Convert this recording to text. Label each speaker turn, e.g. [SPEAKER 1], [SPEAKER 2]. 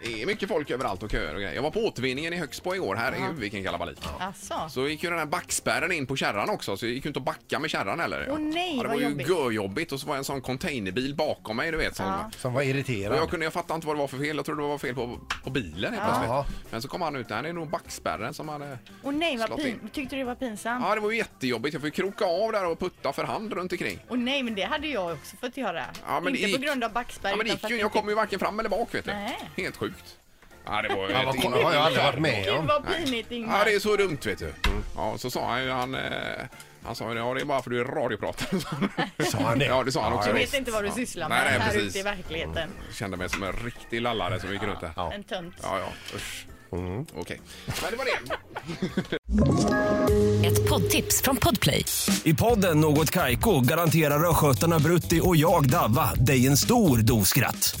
[SPEAKER 1] Det är mycket folk överallt och köer och grejer. Jag var på återvinningen i Högsbo igår. Herregud vilken kalabalik.
[SPEAKER 2] Alltså.
[SPEAKER 1] Så gick ju den här backspärren in på kärran också, så det gick ju inte att backa med kärran heller.
[SPEAKER 2] Åh, nej,
[SPEAKER 1] ja, det var
[SPEAKER 2] vad
[SPEAKER 1] ju
[SPEAKER 2] jobbigt.
[SPEAKER 1] görjobbigt och så var en sån containerbil bakom mig, du vet. Som,
[SPEAKER 2] Ja.
[SPEAKER 3] Som var
[SPEAKER 1] och jag,
[SPEAKER 3] irriterad.
[SPEAKER 1] kunde, jag fattade inte vad det var för fel, jag trodde det var fel på, på bilen helt
[SPEAKER 3] Ja.
[SPEAKER 1] plötsligt. Men så kom han ut, det här är nog backspärren som hade...
[SPEAKER 2] Och nej, vad
[SPEAKER 1] Slått
[SPEAKER 2] pin... tyckte du det var pinsamt?
[SPEAKER 1] Ja, det var ju jättejobbigt. Jag fick kroka av där och putta för hand runt omkring.
[SPEAKER 2] Och nej, men det hade jag också fått göra.
[SPEAKER 1] Ja, men
[SPEAKER 2] inte
[SPEAKER 1] det gick-
[SPEAKER 2] på grund av Backsberg.
[SPEAKER 1] Ja, men det
[SPEAKER 2] utan för
[SPEAKER 1] gick ju,
[SPEAKER 2] att
[SPEAKER 1] jag
[SPEAKER 2] inte-
[SPEAKER 1] kom ju varken fram eller bak vet du.
[SPEAKER 2] Nej.
[SPEAKER 1] Helt sjukt. Ja, det var ju
[SPEAKER 3] Ja, vad
[SPEAKER 1] ett
[SPEAKER 3] kom- har jag aldrig varit med
[SPEAKER 2] Gud
[SPEAKER 3] om.
[SPEAKER 2] vad pinigt Ingmar.
[SPEAKER 1] Ja, det är så dumt vet du. Ja, så sa han ju, han, eh, han sa ju det, ja det är bara för du är radiopratare. sa han.
[SPEAKER 3] Sa han det?
[SPEAKER 1] Ja, det sa han också.
[SPEAKER 2] Du
[SPEAKER 1] Ja,
[SPEAKER 2] vet
[SPEAKER 1] visst.
[SPEAKER 2] inte vad du
[SPEAKER 1] Ja.
[SPEAKER 2] sysslar med
[SPEAKER 1] Nej, nej,
[SPEAKER 2] här
[SPEAKER 1] precis.
[SPEAKER 2] ute i verkligheten.
[SPEAKER 1] Kände mig som en riktig lallare som gick runt där. Ja,
[SPEAKER 2] En tönt.
[SPEAKER 1] ja, usch. Okej, men det var det.
[SPEAKER 4] Ett poddtips från Podplay.
[SPEAKER 5] I podden Något Kaiko garanterar östgötarna Brutti och jag, Davva, dig en stor dos skratt.